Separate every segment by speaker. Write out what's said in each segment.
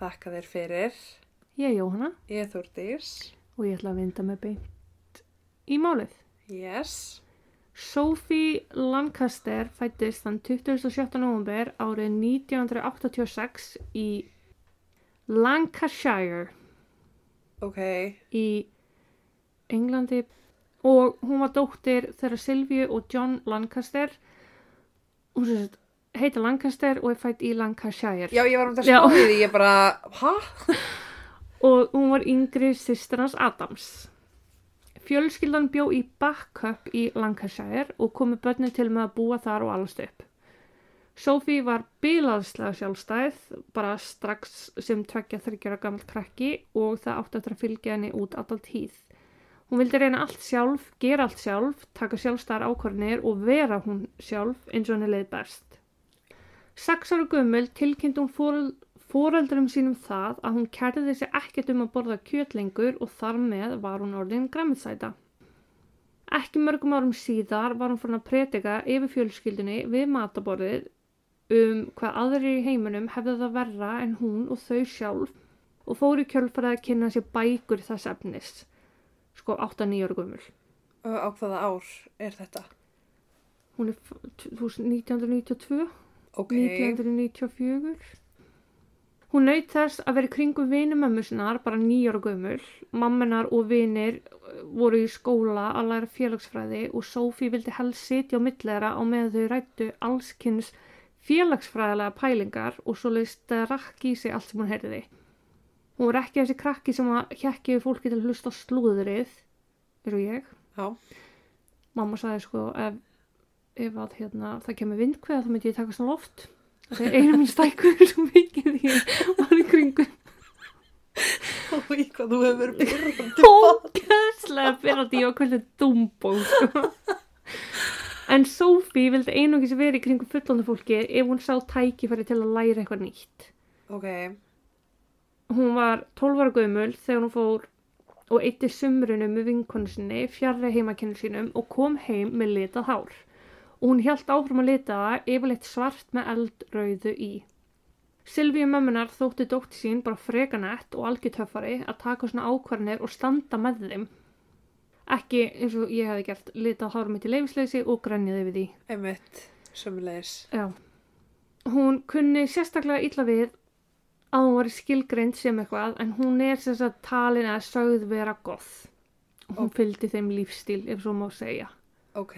Speaker 1: Þakka þér fyrir.
Speaker 2: Ég er Jóhanna
Speaker 1: Ég er Þúrdís.
Speaker 2: og ég ætla að vinda með beint í málið.
Speaker 1: Yes.
Speaker 2: Sophie Lancaster fættist þann 27. november árið 1986 í Lancashire
Speaker 1: Ok.
Speaker 2: í Englandi og hún var dóttir þeirra Silvíu og John Lancaster. Hún sem sagt heitir Lancaster og er fætt í Lancashire.
Speaker 1: Já, ég var um þetta
Speaker 2: Já.
Speaker 1: spáðið, ég bara, hæ?
Speaker 2: og hún var yngri systir hans Adams. Fjölskyldan bjó í Backup í Lancashire og komu börnin til með að búa þar og alast upp. Sophie var bilaðslega sjálfstæð, bara strax sem tveggja þryggjara gammal krakki og það átti eftir að fylgja henni út alltaf tíð. Hún vildi reyna allt sjálf, gera allt sjálf, taka sjálfstæðar ákvarðinir og vera hún sjálf eins og henni leið best. Sex ára gömul tilkynnt hún fóröld Fóreldurum sínum það að hún kærði sig ekkert um að borða kjöt lengur og þar með var hún orðin græmiðsæta. Ekki mörgum árum síðar var hún farin að predika yfir fjölskyldunni við mataborðið um hvað aðrir í heiminum hefði það verra en hún og þau sjálf og fór í kjölfarið að kynna sér bækur þess efnis, sko 8-9 ára gömul.
Speaker 1: Ö, Á hvaða ár er þetta?
Speaker 2: Hún er f- 1992.
Speaker 1: Ok.
Speaker 2: 1994 Hún naut þess að vera í kringum vinumömmu sinnar bara nýjar og gömul mamminar og vinir eh, voru í skóla að læra félagsfræði og Sophie vildi helst sitja á millera á meðan þau rættu allskynns félagsfræðilega pælingar og svo leist rakki í sig allt sem hún heyrði Hún var ekki þessi krakki sem að hjekki við fólki til að hlusta á slúðrið eru ég
Speaker 1: Já.
Speaker 2: mamma sagði sko ef, ef að hérna, það kemur vindkveða þá myndi ég taka svona loft þegar einu mín stækur svo mikið því ég var í kringum
Speaker 1: Og í hvað þú hefur verið byrjandi.
Speaker 2: ógæðslega fyrir að ég var kvöldið dumbó sko. en Sophie vildi einungis vera í kringum fullandi fólki ef hún sá tækifæri til að læra eitthvað nýtt
Speaker 1: Ok.
Speaker 2: hún var 12 ára gömul þegar hún fór og eitti sumrunum með vinkonu sinni fjarrri heimakennu sínum og kom heim með litað hár. Og hún hjælt áfram að lita það yfirleitt svart með eldrauðu í. Silvíu mömmunar þótti dótti sín bara frekanett og algjutöfari að taka svona ákvarðanir og standa með þeim. Ekki eins og ég hefði gert litað hárum mitt í leifisleysi og grænjaði við því.
Speaker 1: Einmitt. Sömmulegis.
Speaker 2: Já. Hún kunni sérstaklega illa við að hún var skilgreind sem eitthvað en hún er sem sagt talin að sögð vera goth. Hún fylgdi þeim lífstíl ef svo má segja.
Speaker 1: Ok.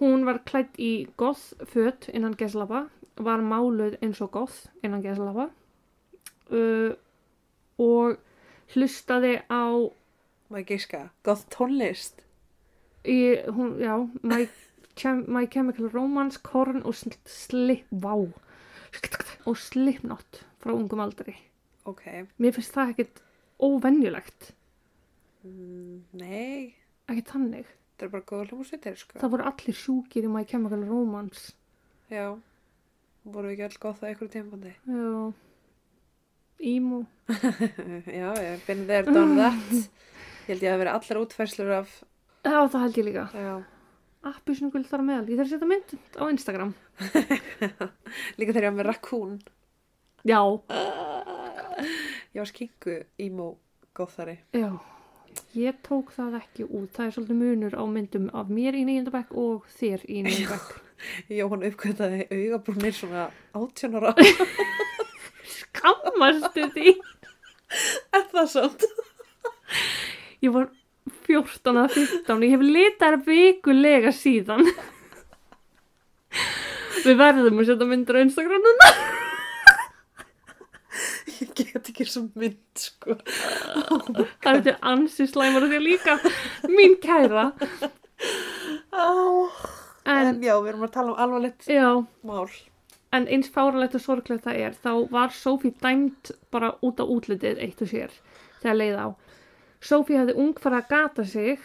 Speaker 2: Hún var klætt í goth föt innan geslapa, var máluð eins og goth innan geslapa uh, og hlustaði á
Speaker 1: Má ég gíska. Góð tónlist.
Speaker 2: í, hún, já, my, Chem my Chemical Romance, Korn og sl Slip, vá, og Slipknot frá ungum aldri.
Speaker 1: Ok.
Speaker 2: Mér finnst það ekkert óvenjulegt,
Speaker 1: Mm, nei.
Speaker 2: ekkert þannig.
Speaker 1: Það er bara góða hljómsveitir, sko.
Speaker 2: Það voru allir sjúkir í My Chemical Romance.
Speaker 1: Já. Voru ekki öll góð það einhverju tímpandi?
Speaker 2: Já, Ímú.
Speaker 1: Já, ég finn þeir done that. Ég held ég að vera allar útferslur af,
Speaker 2: Já, það held ég líka.
Speaker 1: já,
Speaker 2: Appisnugul þar á meðal. Ég þarf að setja mynd á Instagram.
Speaker 1: líka þegar ég var með rakún.
Speaker 2: Já.
Speaker 1: Ég var skingu ímó góðari.
Speaker 2: Já. Ég tók það ekki út. Það er svolítið munur á myndum af mér í nýjöndabæk og þér í nýjöndabæk.
Speaker 1: Jóhann uppkvitaði augabrúnir svona átjónara.
Speaker 2: Skammastu því?
Speaker 1: er það samt?
Speaker 2: Ég var 14 að 15 Ég hef litar vikulega síðan Við verðum að setja myndir á Instagram núna
Speaker 1: Ég get ekki svo mynd, sko.
Speaker 2: Það eru til ansi slæmar og því líka Mín kæra
Speaker 1: Á.
Speaker 2: En,
Speaker 1: En, já, við erum að tala um alvarlegt
Speaker 2: já,
Speaker 1: mál.
Speaker 2: en eins fáralegt og sorglegt það er Þá var Sophie dæmt bara út á útlitið eitt og sér Þegar leið á Sophie hefði ung farið að gata sig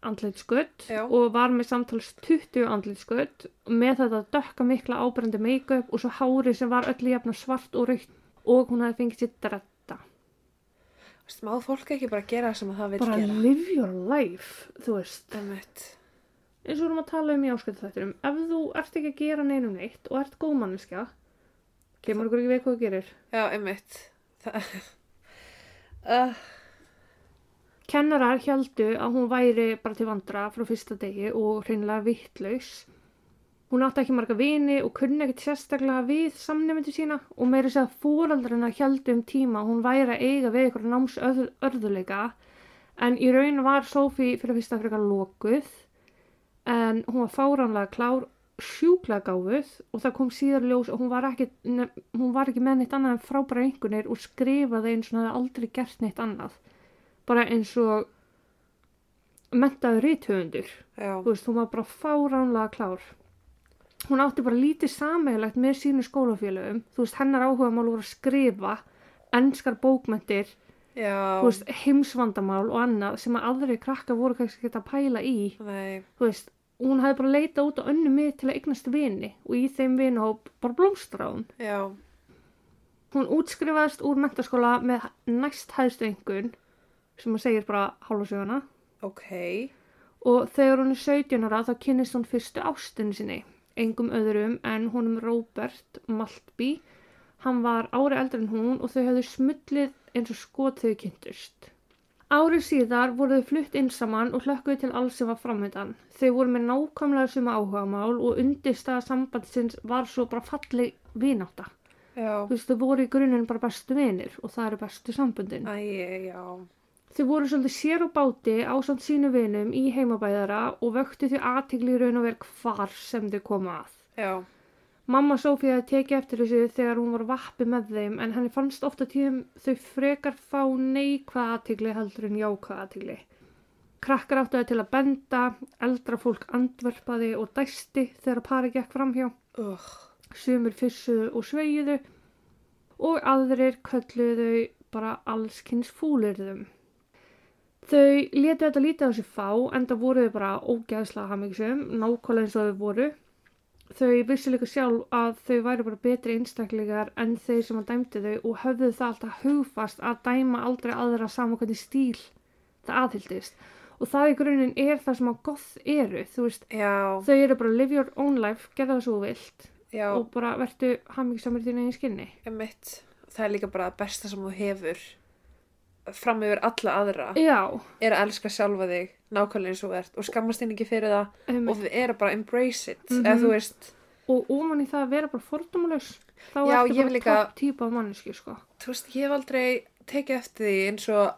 Speaker 2: andlitskutt
Speaker 1: Já.
Speaker 2: og var með samtals 20 andlitskutt með þetta dökka mikla ábrendi make-up og svo hári sem var öll jafna svart og raukt og hún hefði fengið sér dretta
Speaker 1: Má fólk ekki bara gera það sem það vil
Speaker 2: bara
Speaker 1: gera?
Speaker 2: live your life þú veist,
Speaker 1: Einmitt.
Speaker 2: eins og um við erum að tala um í ásköldu þætturum ef þú ert ekki að gera neinum neitt og ert góðmanniska Kemur okkur ekki við hvað þú gerir.
Speaker 1: Já, einmitt. Það... Uh,
Speaker 2: Kennarar heldu að hún væri bara til vandra frá fyrsta degi og hreinlega vittlaus. Hún átti ekki marga vini og kunni ekkert sérstaklega við samnefndu sína og meiri sér að fóraldrarna heldu um tíma að hún væri að eiga við ykkur námsörðuleika en í raun var Sophie fyrir fyrsta frekar lokuð en hún var fáránlega klár sjúklega gáfuð og það kom síðar í ljós og hún var ekki, ne- hún var ekki með neitt annað en frábæra einhvernir og skrifaði eins og hún hefði aldrei gert neitt annað bara eins og mentaði rithöfundur
Speaker 1: já,
Speaker 2: þú veist, hún var bara fáránlega klár hún átti bara lítið sameigilegt með sínu skólafélögum þú veist, hennar áhugamál voru að skrifa enskar bókmentir
Speaker 1: já.
Speaker 2: þú veist, heimsvandamál og annað sem að aðri krakkar voru kannski ekki að pæla í
Speaker 1: Nei,
Speaker 2: þú veist, hún hefði bara leitað út á önnu mið til að eignast vini og í þeim vinahóp bara blómstra hún
Speaker 1: já,
Speaker 2: hún útskrifaðist úr mentaskóla með næst hæðstu einhvern sem hún segir bara hálfa söguna
Speaker 1: ok.
Speaker 2: og þegar hún er 17 ára þá kynnist hún fyrstu ástinni sinni engum öðrum en honum Robert Maltby hann var ári eldri en hún og þau höfðu smullið eins og skot þau kynntust Árið síðar voru þau flutt inn saman og hlökkuðu til alls sem var framöndan. Þau voru með nákvæmlega suma áhugamál og undirstaða sambandsins var svo bara falleg vináta.
Speaker 1: Já,
Speaker 2: Þú veist, þau voru í grunin bara bestu vinir og það eru bestu sambundin.
Speaker 1: æ, já,
Speaker 2: Þau voru svolítið sér á báti ásamt sínu vinum í heimabæðara og vöktu þau aðtigli í raun og verk hvar sem þau koma að.
Speaker 1: já,
Speaker 2: Mamma Sofía hafði tekið eftir þessu þegar hún var vappi með þeim en henni fannst ofta tíðum þau frekar fá neikvað aðtigli heldur en jákvað aðtigli. Krakkar áttu þau til að benda, eldra fólk andverpaði og dæsti þegar pari gekk framhjá
Speaker 1: uh,
Speaker 2: sumur fyssuðu og sveigiðu og aðrir kölluðu bara alls kynns fúlirðum. Þau letu þetta lítið á sig fá en það voru þau bara ógæðslega hamingisum, nákvæmlega eins og þau voru. Þau vissu líka sjálf að þau væru bara betri einstaklingar en þeir sem að dæmdi þau og höfðu það alltaf hugfast að dæma aldrei aðra saman hvernig stíl það aðhildist. Og það í grunninn er það sem að goth eru, þú veist,
Speaker 1: já,
Speaker 2: þau eru bara live your own life, gerða það svo vilt
Speaker 1: já,
Speaker 2: og bara verðu hamingisamur þínu eigin skinni.
Speaker 1: emitt. Það er líka bara það besta sem þú hefur fram yfir alla aðra.
Speaker 2: Já,
Speaker 1: Er að elska sjálfa þig nákvæmlega eins og þú ert og skammast þín ekki fyrir það
Speaker 2: um,
Speaker 1: og
Speaker 2: og,
Speaker 1: þú er að bara embrace it,
Speaker 2: Mhm.
Speaker 1: ef þú veist...
Speaker 2: og ofan í það að vera bara fordómulegs, þá
Speaker 1: Já,
Speaker 2: ertu
Speaker 1: ég
Speaker 2: bara
Speaker 1: vil líka-
Speaker 2: topp típa af manneski, sko.
Speaker 1: Þú veist, ég hef aldrei tekið eftir því eins og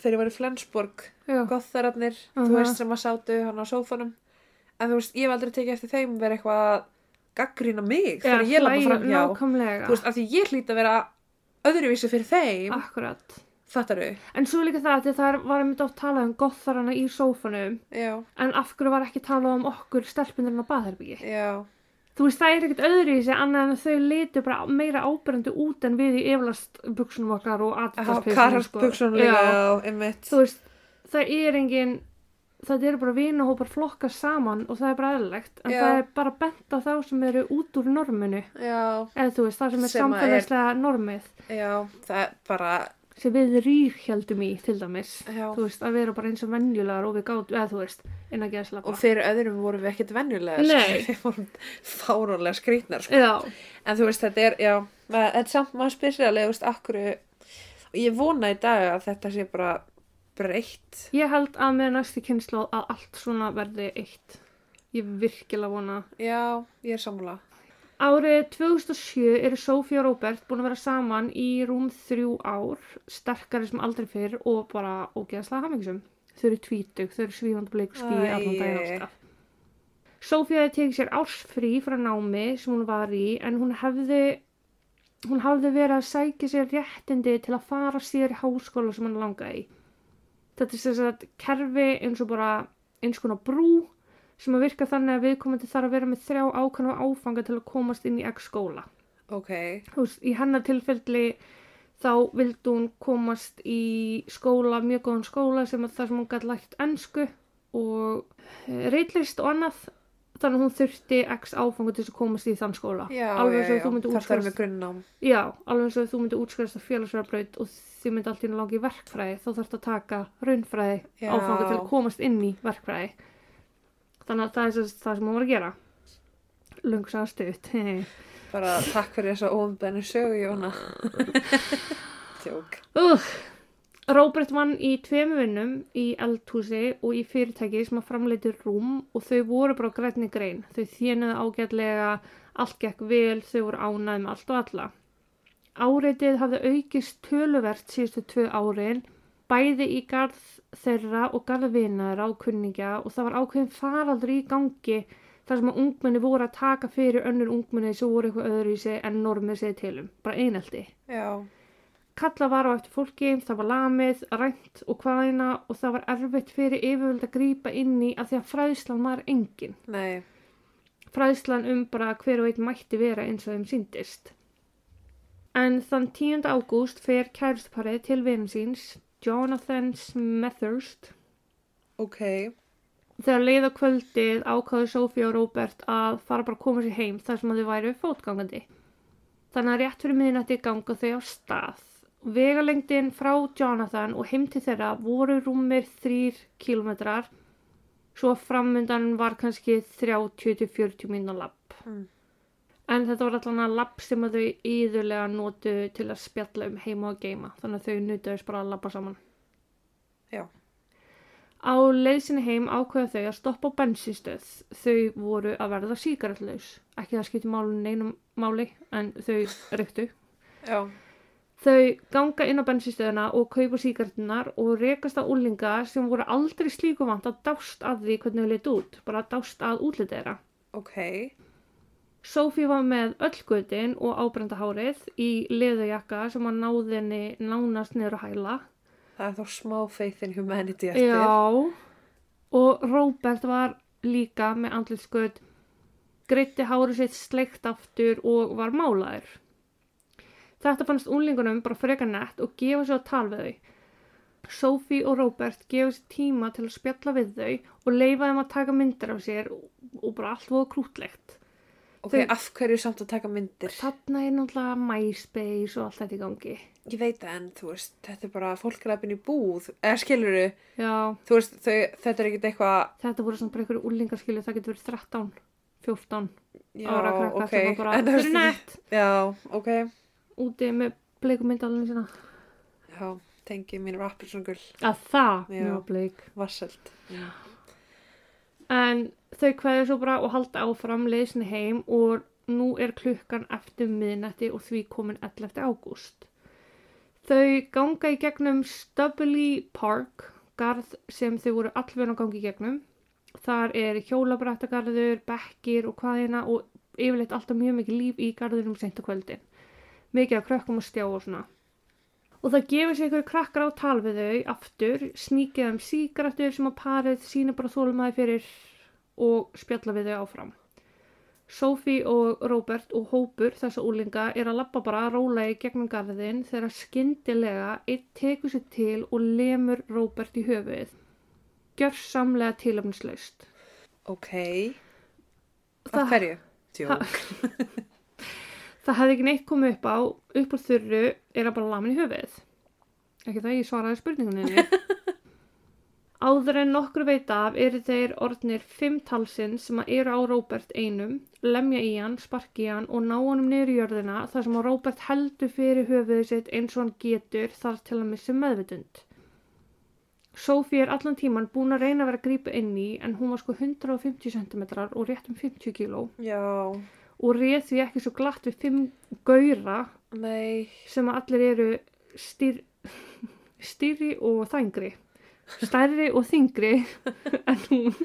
Speaker 1: þegar ég var í Flensborg,
Speaker 2: Já,
Speaker 1: gotthararnir, þú
Speaker 2: Mhm.
Speaker 1: veist, sem að sátu hann á sófanum. En þú veist, ég hef aldrei tekið eftir þeim vera eitthvað að gaggrína mig þegar
Speaker 2: Eða
Speaker 1: ég lappa
Speaker 2: hlæja-
Speaker 1: fram hjá.
Speaker 2: Nákvæmlega,
Speaker 1: Þú veist, af því ég hlýt að vera öðruvísi fyrir þeim, ah.
Speaker 2: akkurat.
Speaker 1: fattar þau?
Speaker 2: En svo er líka það að það er- var einmitt oft talað um gotharana í sófanum,
Speaker 1: Já,
Speaker 2: en af hverju var ekki talað um okkur stelpunirinn á baðherbyggi?
Speaker 1: já,
Speaker 2: Þú veist, það er ekkert öðru í sig annað en að þau litu bara meira ábyrjandi út en við í eflast buksunum okkar og aðfæðspeysunum.
Speaker 1: Karhans Bugson líka,
Speaker 2: sko. Já,
Speaker 1: já, einmitt.
Speaker 2: þú veist, það er engin það eru bara vinahópar flokka saman og það er bara eðlilegt en
Speaker 1: Já.
Speaker 2: það er bara bent á þá sem eru út úr norminu
Speaker 1: Já,
Speaker 2: eða þú veist, það sem er
Speaker 1: Sem að er-
Speaker 2: samfélagslega normið
Speaker 1: já, það er bara,
Speaker 2: sem við rýrhjaldum í til dæmis
Speaker 1: já.
Speaker 2: þú veist, að vera bara eins og venjulegar og við gátum, eða þú veist, innan ekki að slappa
Speaker 1: Og fyrir öðrum vorum við ekkert venjulega,
Speaker 2: Nei.
Speaker 1: við vorum fárónlega skrýtnar, sko.
Speaker 2: Já,
Speaker 1: En þú veist, þetta er, já, maður, þetta er samt maður spyrjalega, þú veist, akkur, og ég vona í dag að þetta sé bara breytt.
Speaker 2: ég held að með næstu kynnslóð að allt svona verði eitt ég virkilega vona
Speaker 1: Já, ég er sammála.
Speaker 2: Árið 2007 eru Sophie og Robert búin að vera saman í rúm þrjú ár, sterkari sem aldrei fyrr og bara ógeðslega hamingisum. Þau eru tvítug, þau eru svífandi bleik ský
Speaker 1: Æi.
Speaker 2: allan daginn alltaf. Sophie hefði tekið sér ársfrí frá námi sem hún var í en hún hefði, hún hafði verið að sækja sér réttindi til að fara sér í háskóla sem hann langaði í. Þetta er þess að kerfi eins og bara eins konar brú sem að virka þannig að viðkomandi þarf að vera með þrjá ákvæmna áfanga til að komast inn í X skóla.
Speaker 1: Ok,
Speaker 2: Þú veist, í hennar tilfelli þá vildi hún komast í skóla, mjög góðan skóla sem að þar sem hún gæti lært ensku og reitlist og annað þannig að hún þurfti X áfanga til þess að komast í þann skóla.
Speaker 1: já,
Speaker 2: alveg
Speaker 1: já,
Speaker 2: eins og
Speaker 1: já,
Speaker 2: þú myndir
Speaker 1: þetta er
Speaker 2: útskrast
Speaker 1: með grunnnám.
Speaker 2: Já, alveg eins og þú myndir útskrast að félagsverðarbraut og þið myndi allt í henni langi í verkfræði þá þarf að taka raunfræði
Speaker 1: Já.
Speaker 2: áfanga til að komast inn í verkfræði þannig að það er sem sagt það sem hún var að gera lungsa stutt
Speaker 1: bara takk fyrir þessa óumbenni sögu Jóna tjók
Speaker 2: Ugh. Robert vann í tveimu vinnum í eldhúsi og í fyrirtæki sem að framleiti rúm og þau voru bara á grænni grein. Þau þjönuðu ágætlega, allt gekk vel, þau voru ánægð með allt og alla. Áreitið hafði aukist töluvert síðustu tvö árin, bæði í garð þeirra og garðvinara og kunningja og það var ákveðin faraldur í gangi þar sem að ungmenni voru að taka fyrir önnur ungmenni sem voru eitthvað öðru í sig en normið segi til um, bara einelti.
Speaker 1: já,
Speaker 2: Kalla var á eftir fólki, það var lamið, rænt og hvaðina og það var erfitt fyrir yfirvöld að grípa inn í að því að fræðslan var engin.
Speaker 1: nei,
Speaker 2: Fræðslan um bara hver og einn mætti vera eins og þeim síndist. En þann 10. ágúst fer kærustuparið til vinum síns, Jonathan Smethurst.
Speaker 1: ok
Speaker 2: Þegar leið á kvöldið ákvaðu Sophie og Robert að fara bara að koma sér heim þar sem að þau væru fótgangandi. Þannig að rétt fyrir miðinætti ganga þau á stað. Vegalengdin frá Jonathan og heim til þeirra voru rúmir 3 kilometrar, svo framundan var kannski 30-40 mínúna lapp.
Speaker 1: Mm.
Speaker 2: En þetta var allan að lapp sem að þau íðurlega notu til að spjalla um heima og geima, þannig að þau nutaðist bara að lappa saman.
Speaker 1: já,
Speaker 2: Á leiðsinni heim ákveða þau að stoppa á bensinstöð. Þau voru að verða sígarettlaus. Ekki það skipti málun neinum máli, en þau reyktu.
Speaker 1: já,
Speaker 2: Þau ganga inn á bensinstöðuna og kaupa sígarettunar og rekast á úlinga sem voru aldrei slíku vant að dást að því hvernig þau leitt út. Bara að dást að útlitið þeirra.
Speaker 1: ok
Speaker 2: Sophie var með öll gutin og ábrenda hárið í leðujakka sem að náðinni nánast niður að hæla.
Speaker 1: það er þá smá faith in humanity eftir
Speaker 2: Já, og Róbert var líka með andlitskutt, greitti hárið sitt sleikt aftur og var málaður. Þetta fannst unlingunum bara frekar nett og gefa sér að tala við þau. Sophie og Róbert gefa sér tíma til að spjalla við þau og leifa þeim að taka myndir af sér og og bara allt voru krútlegt.
Speaker 1: ok,
Speaker 2: Þau-
Speaker 1: af hverju samt að taka myndir
Speaker 2: Þarna er náttúrulega MySpace og allt þetta í gangi.
Speaker 1: ég veit það en þú veist, þetta er bara fólk er að byrja í búð eða skilur
Speaker 2: Já,
Speaker 1: þú veist, þau, þetta er ekkert eitthvað
Speaker 2: þetta voru svona bara einhverju úlingarskilu, það getur verið 13, 14.
Speaker 1: já,
Speaker 2: ára krakka
Speaker 1: ok
Speaker 2: sem var bara
Speaker 1: En þú
Speaker 2: fyrir
Speaker 1: veist,
Speaker 2: nett
Speaker 1: já, ok
Speaker 2: úti með bleiku myndalinn sína
Speaker 1: já, tengi mín rappur svona gull
Speaker 2: að það
Speaker 1: Já.
Speaker 2: mjög bleik
Speaker 1: vasselt
Speaker 2: en þau kveður svo bara og halda áfram leiðsinni heim og nú er klukkan eftir miðnætti og því komin 11. ágúst þau ganga í gegnum Stubbly Park garð sem þau voru allveg að ganga í gegnum þar er hjólabrættagarður, bekkir og hvaðina og yfirleitt alltaf mjög mikið líf í garðinum seint á kvöldin mikið af krökkum og stjá og svona Og það gefur sér einhverju krakkar á tal við þau aftur, sníkið um sígrættur sem að parið sína bara þólumæði fyrir og spjalla við þau áfram. Sophie og Robert og hópur þessa úlinga er að labba bara róla í gegnum garðin þegar skyndilega einn tekur sér til og lemur Robert í höfuðið. Gjörsamlega tilöfnislaust.
Speaker 1: ok, af hverju?
Speaker 2: Ha-
Speaker 1: Djók.
Speaker 2: Það hefði ekki neitt komið upp á, upp úr þurru er að bara lamin í höfuðið. Ekki það ég svaraði spurningunni. Áður en nokkur veit af eru þeir orðnir fimm talsinn sem að eru á Róbert einum, lemja í hann, sparki í hann og ná honum niður í jörðina þar sem að Róbert heldur fyrir höfuðið sitt eins og hann getur þar til að missa meðvitund. Sophie er allan tíman búin að reyna að vera að grípa inn í en hún var sko 150 cm og rétt um 50 kg
Speaker 1: Já,
Speaker 2: og réð því ekki svo glatt við fimm gauðra
Speaker 1: nei,
Speaker 2: sem að allir eru styr, styrri og þængri stærri og þingri en hún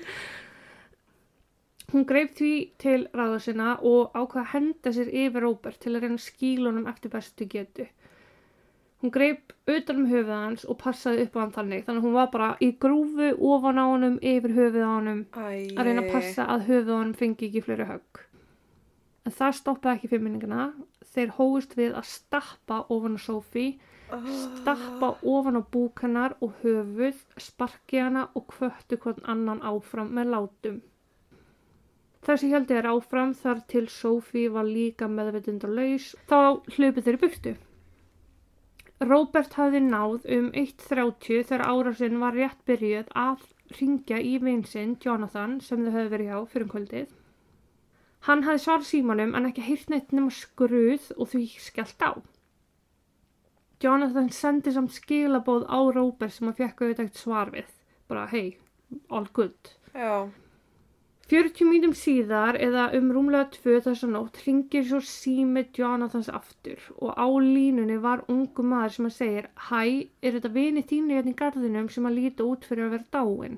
Speaker 2: hún greip því til ráða sinna og ákvað að henda sér yfir Róbert til að reyna að skýla honum eftir bestu getu hún greip utan um höfuð hans og passaði upp á hann þannig þannig að hún var bara í grúfu ofan á honum yfir höfuð á honum
Speaker 1: æ
Speaker 2: að reyna að passa að höfuð honum fengi ekki fleiri högg. En það stoppaði ekki fimmningana. Þeir hóist við að stappa ofan á Sophie,
Speaker 1: Ah,
Speaker 2: stappa ofan á búk hennar og höfuð, sparki hana og kvöttu hvern annan áfram með látum. Þessi hjaldi er áfram þar til Sophie var líka meðvitundarlaus. Þá hlupið þeir í bygtu. Robert hafði náð um 1.30 þegar árásinn var rétt byrjuð að ringja í vinsinn Jonathan sem þau höfðu verið hjá fyrir um kvöldið. Hann hafði svarað símanum en ekki heyrt neitt nema skruð og því skellt á. Jonathan sendi samt skilabóð á Robert sem hann fekk auðvitað ekkert svar við. Bara, hey, all good.
Speaker 1: Já,
Speaker 2: 40 mínum síðar eða um rúmlega tvö þessa nótt ringir svo sími Jonathans aftur og á línunni var ungu maður sem að segir Hæ, er þetta vini þínu hérna í garðinum sem að líta út fyrir að vera dáin?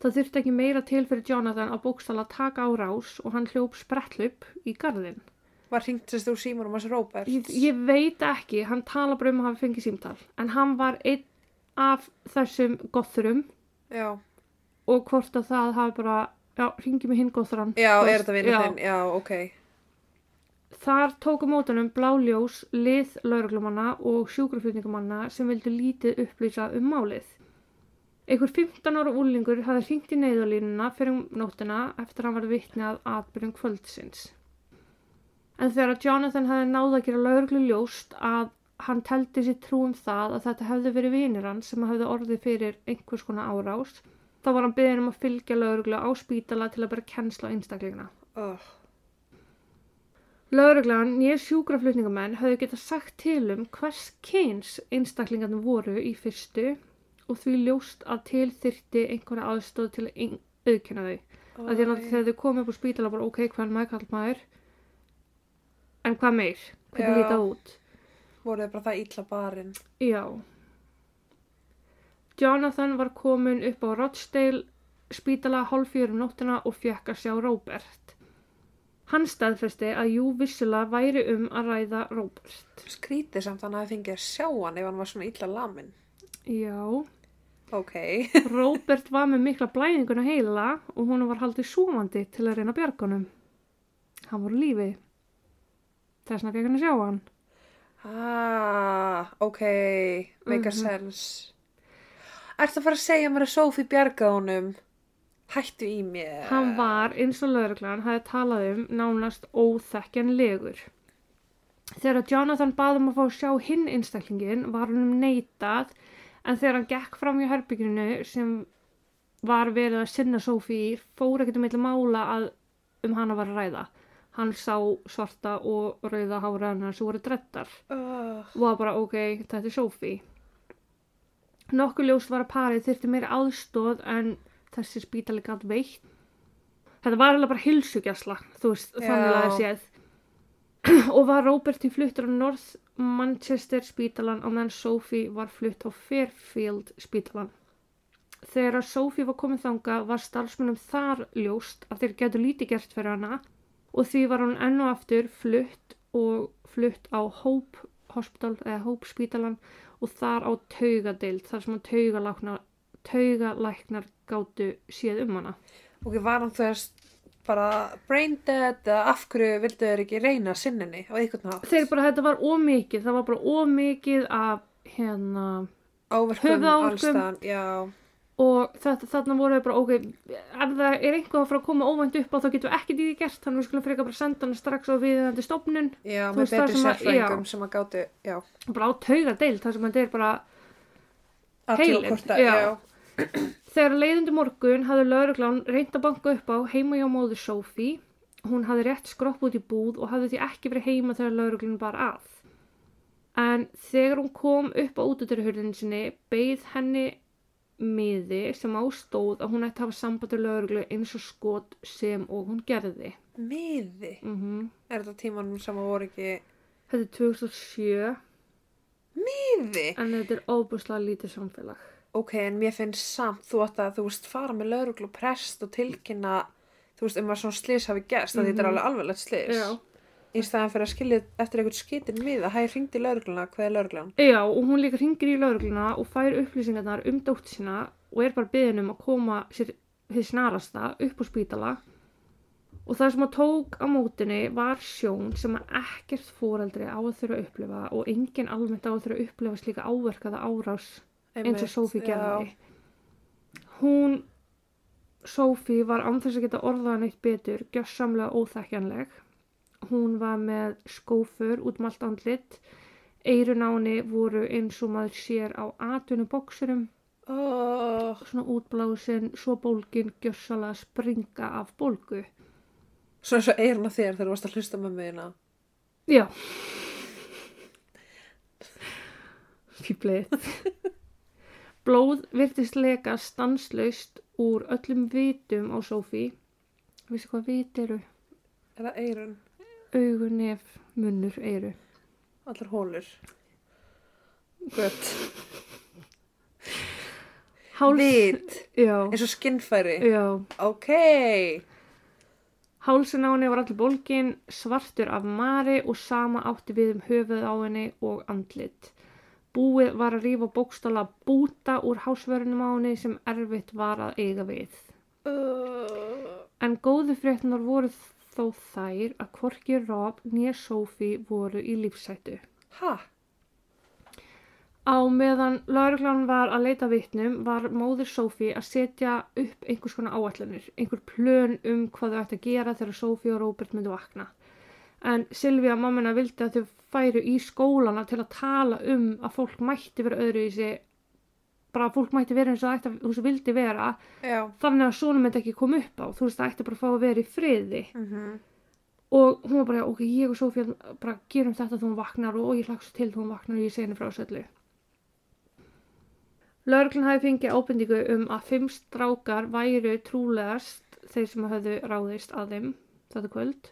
Speaker 2: Það þurfti ekki meira til fyrir Jonathan að bókstala taka á rás og hann hljóp sprettlup í garðin.
Speaker 1: var hringt sérst úr símur um hans Róbert.
Speaker 2: Ég, ég veit ekki, hann tala bara um að hafa fengið símtal en hann var einn af þessum gothrum
Speaker 1: Já,
Speaker 2: og hvort að það hafi bara, já, ringi mig hinn gothran. Þú
Speaker 1: já, er
Speaker 2: veist,
Speaker 1: þetta vinnu
Speaker 2: já.
Speaker 1: þinn? Já, ok.
Speaker 2: Þar tóku mótunum bláljós lið lauruglumanna og sjúkraflutningumanna sem vildu lítið upplýsa um málið. Einhver 15 ára úlingur hafði hringt í neyðalínuna fyrir um nóttina eftir að hann var vitni að atbyrjum kvöldsins. En þegar að Jonathan hafði náð að gera lauruglu ljóst að hann teldi sér trú um það að þetta hefði verið vinir hans sem hefði orðið fyrir einhvers konar árás, þá var hann byggðin um að fylgja lauruglu á spítala til að bera kennsla á einstaklingina.
Speaker 1: Oh.
Speaker 2: Lauruglan nýr sjúkraflutningamenn höfðu getað sagt til um hvers kyns einstaklingarnir voru í fyrstu og því ljóst að til þyrti einhverja aðstóð til að ein- auðkenna þau. Af því að náttúrulega þegar þau komu upp á spítala bara ok, hvern maður kall maður, en hvað meir? Hvernig
Speaker 1: Já.
Speaker 2: lítið það út?
Speaker 1: Voru þið bara það illa barinn?
Speaker 2: Já. Jonathan var komin upp á Rochdale spítala hálfjör um nóttina og fekk að sjá Robert. Hann staðfesti að jú vissulega væri um að ræða Robert.
Speaker 1: Skrítið samt að hann hafi fengið að sjá hann ef hann var svona illa lamin.
Speaker 2: Já,
Speaker 1: Ok.
Speaker 2: Robert var með mikla blæðinguna heila og hún var haldið súvandi til að reyna bjargunum. Hann var á lífi. Þess vegna fekk hann að sjá hann.
Speaker 1: ah, ok. Make
Speaker 2: Mhm.
Speaker 1: a sense. Ertu að fara að segja mér að Sophie bjargaði honum? Hættu í mér.
Speaker 2: Hann var eins og lögreglan hafði talað um nánast óþekkjanlegur. Þegar Jonathan bað um að fá að sjá hinn einstaklingin var hann um neitað en þegar hann gekk fram í herbygginu sem var verið að sinna Sophie í, fór ekkert um eitthvað mála að um hana var að ræða. Hann sá svarta og rauða hára hennar sem voru drettar
Speaker 1: Oh.
Speaker 2: og var bara ok, þetta er Sophie nokkuð ljós var að parið þyrfti meira aðstóð en þessi spítali gætt veitt þetta var alveg bara hilsugjasla þú veist,
Speaker 1: Já.
Speaker 2: þannig að séð og var Robert í fluttur á North Manchester spítalan á meðan Sophie var flutt á Fairfield spítalan þegar að Sophie var komin þanga var starfsmunum þar ljóst að þeir getur lítið gert fyrir hana og því var hún enn og aftur flutt og flutt á Hope Hospital eða Hope Spítalan og þar á taugadeild þar sem að taugalæknar, taugalæknar gátu séð um hana.
Speaker 1: Ok, var hann þess bara brain dead eða af hverju vildu þeir ekki reyna sinninni á einhvern hátt?
Speaker 2: Þeir bara þetta var ómikið, það var bara ómikið af hérna
Speaker 1: Áverkum,
Speaker 2: höfðu áverkum.
Speaker 1: allstaðan, já.
Speaker 2: og þetta, þarna voru þau bara ok, ef það er einhvað að fara að koma óvænt upp á þá getum við ekkert í því gert þannig við skulum frekar bara senda hana strax á viðeigandi stofnun
Speaker 1: Já,
Speaker 2: Þú
Speaker 1: með
Speaker 2: veist, það
Speaker 1: betri
Speaker 2: sem að-
Speaker 1: sérfræðingum
Speaker 2: já.
Speaker 1: sem að gátu, já,
Speaker 2: bara á taugadeild þar sem þetta er bara
Speaker 1: aðtjóða
Speaker 2: Heilinn,
Speaker 1: hvort að,
Speaker 2: já.
Speaker 1: já.
Speaker 2: Þegar leiðundi morgun hafði lauruglan reynd að banka upp á heima hjá móður Sophie. Hún hafði rétt skropp út í búð og hafði því ekki verið heima þegar lauruglan bar að. En þegar hún kom upp á útudurhurðinu sinni beigð henni miði sem ástóð að hún ætti að hafa samband við lauruglu eins og skot sem og hún gerði.
Speaker 1: Miði,
Speaker 2: Mm
Speaker 1: er þetta tímanum sem að voru ekki,
Speaker 2: Þetta er 2007
Speaker 1: miði?
Speaker 2: en þetta er óbúslega lítið samfélag.
Speaker 1: Ok, en mér finnst samt, þú átt að, þú veist, fara með lauruglu og prest og tilkynna, þú veist, um að svona slis hafi gerst, mm -hmm.
Speaker 2: Mhm.
Speaker 1: þetta er alveg alveglegt slis. Í staðan fyrir að skilja eftir eitthvað skitin miða, hæ, hringdi í laurugluna, hvað er lauruglan?
Speaker 2: Já, og hún líka ringir í laurugluna og fær upplýsingarnar um dótt sína og er bara beðin um að koma sér þið snarasta upp á spítala og það sem hún tók á mótinni var sjón sem að ekkert fóreldri á að þurfa að upplifa og enginn almennt á að þurfa að upplifa slíka áverkaða árás eins og Sophie gerði. Hún, Sophie var án þess að geta orðað neitt betur, gjössamlega óþekkjanleg. Hún var með skófur út um allt andlit, eirun á henni voru eins og maður sér á atvinnu bóksurum,
Speaker 1: Oh,
Speaker 2: svona útblásin, svo bólgin gjössalega springa af bólgu.
Speaker 1: Svona eins og eyrun á þér þegar þú varst að hlusta með mig hérna.
Speaker 2: Já. Fýblið. Blóð virtist leka stanslaust úr öllum vitum á Sophie. Vissu hvað vit eru?
Speaker 1: Er það eyrun?
Speaker 2: Augun, nef, munnur, eyru.
Speaker 1: Allar hólur. Gött.
Speaker 2: Háls,
Speaker 1: Vit.
Speaker 2: Já,
Speaker 1: Eins og skinnfæri.
Speaker 2: já.
Speaker 1: Ok.
Speaker 2: Hálsin á henni var allir bólgin, svartur af mari og sama átti við um höfuð á henni og andlit. Búið var að rífa bókstála búta úr hásvörunum á henni sem erfitt var að eiga við.
Speaker 1: Uh,
Speaker 2: En góðu fréttunar voru þó þær að hvorki Rob nýja Sophie voru í lífsættu.
Speaker 1: ha?
Speaker 2: Á meðan lauruglan var að leita vitnum var móður Sophie að setja upp einhvers konar áætlanir, einhver plön um hvað þau ætti að gera þegar Sophie og Robert myndu vakna. En Silvía mammina vildi að þau færu í skólana til að tala um að fólk mætti vera öðru í sig, bara að fólk mætti vera eins og það ætti að, þú vildi vera,
Speaker 1: Já.
Speaker 2: þannig að svona myndi ekki koma upp á, þú veist það ætti bara að fá að vera í friði
Speaker 1: Mm -hmm.
Speaker 2: og hún var bara, ok, ég og Sofía bara gerum þetta þegar hún vaknar og ég hlaks til þegar hún vaknar og ég segi henni frá þessu öllu. Lörglun hafi fengið ábendingu um að fimm strákar væru trúlegast þeir sem höfðu ráðist að þeim þetta kvöld.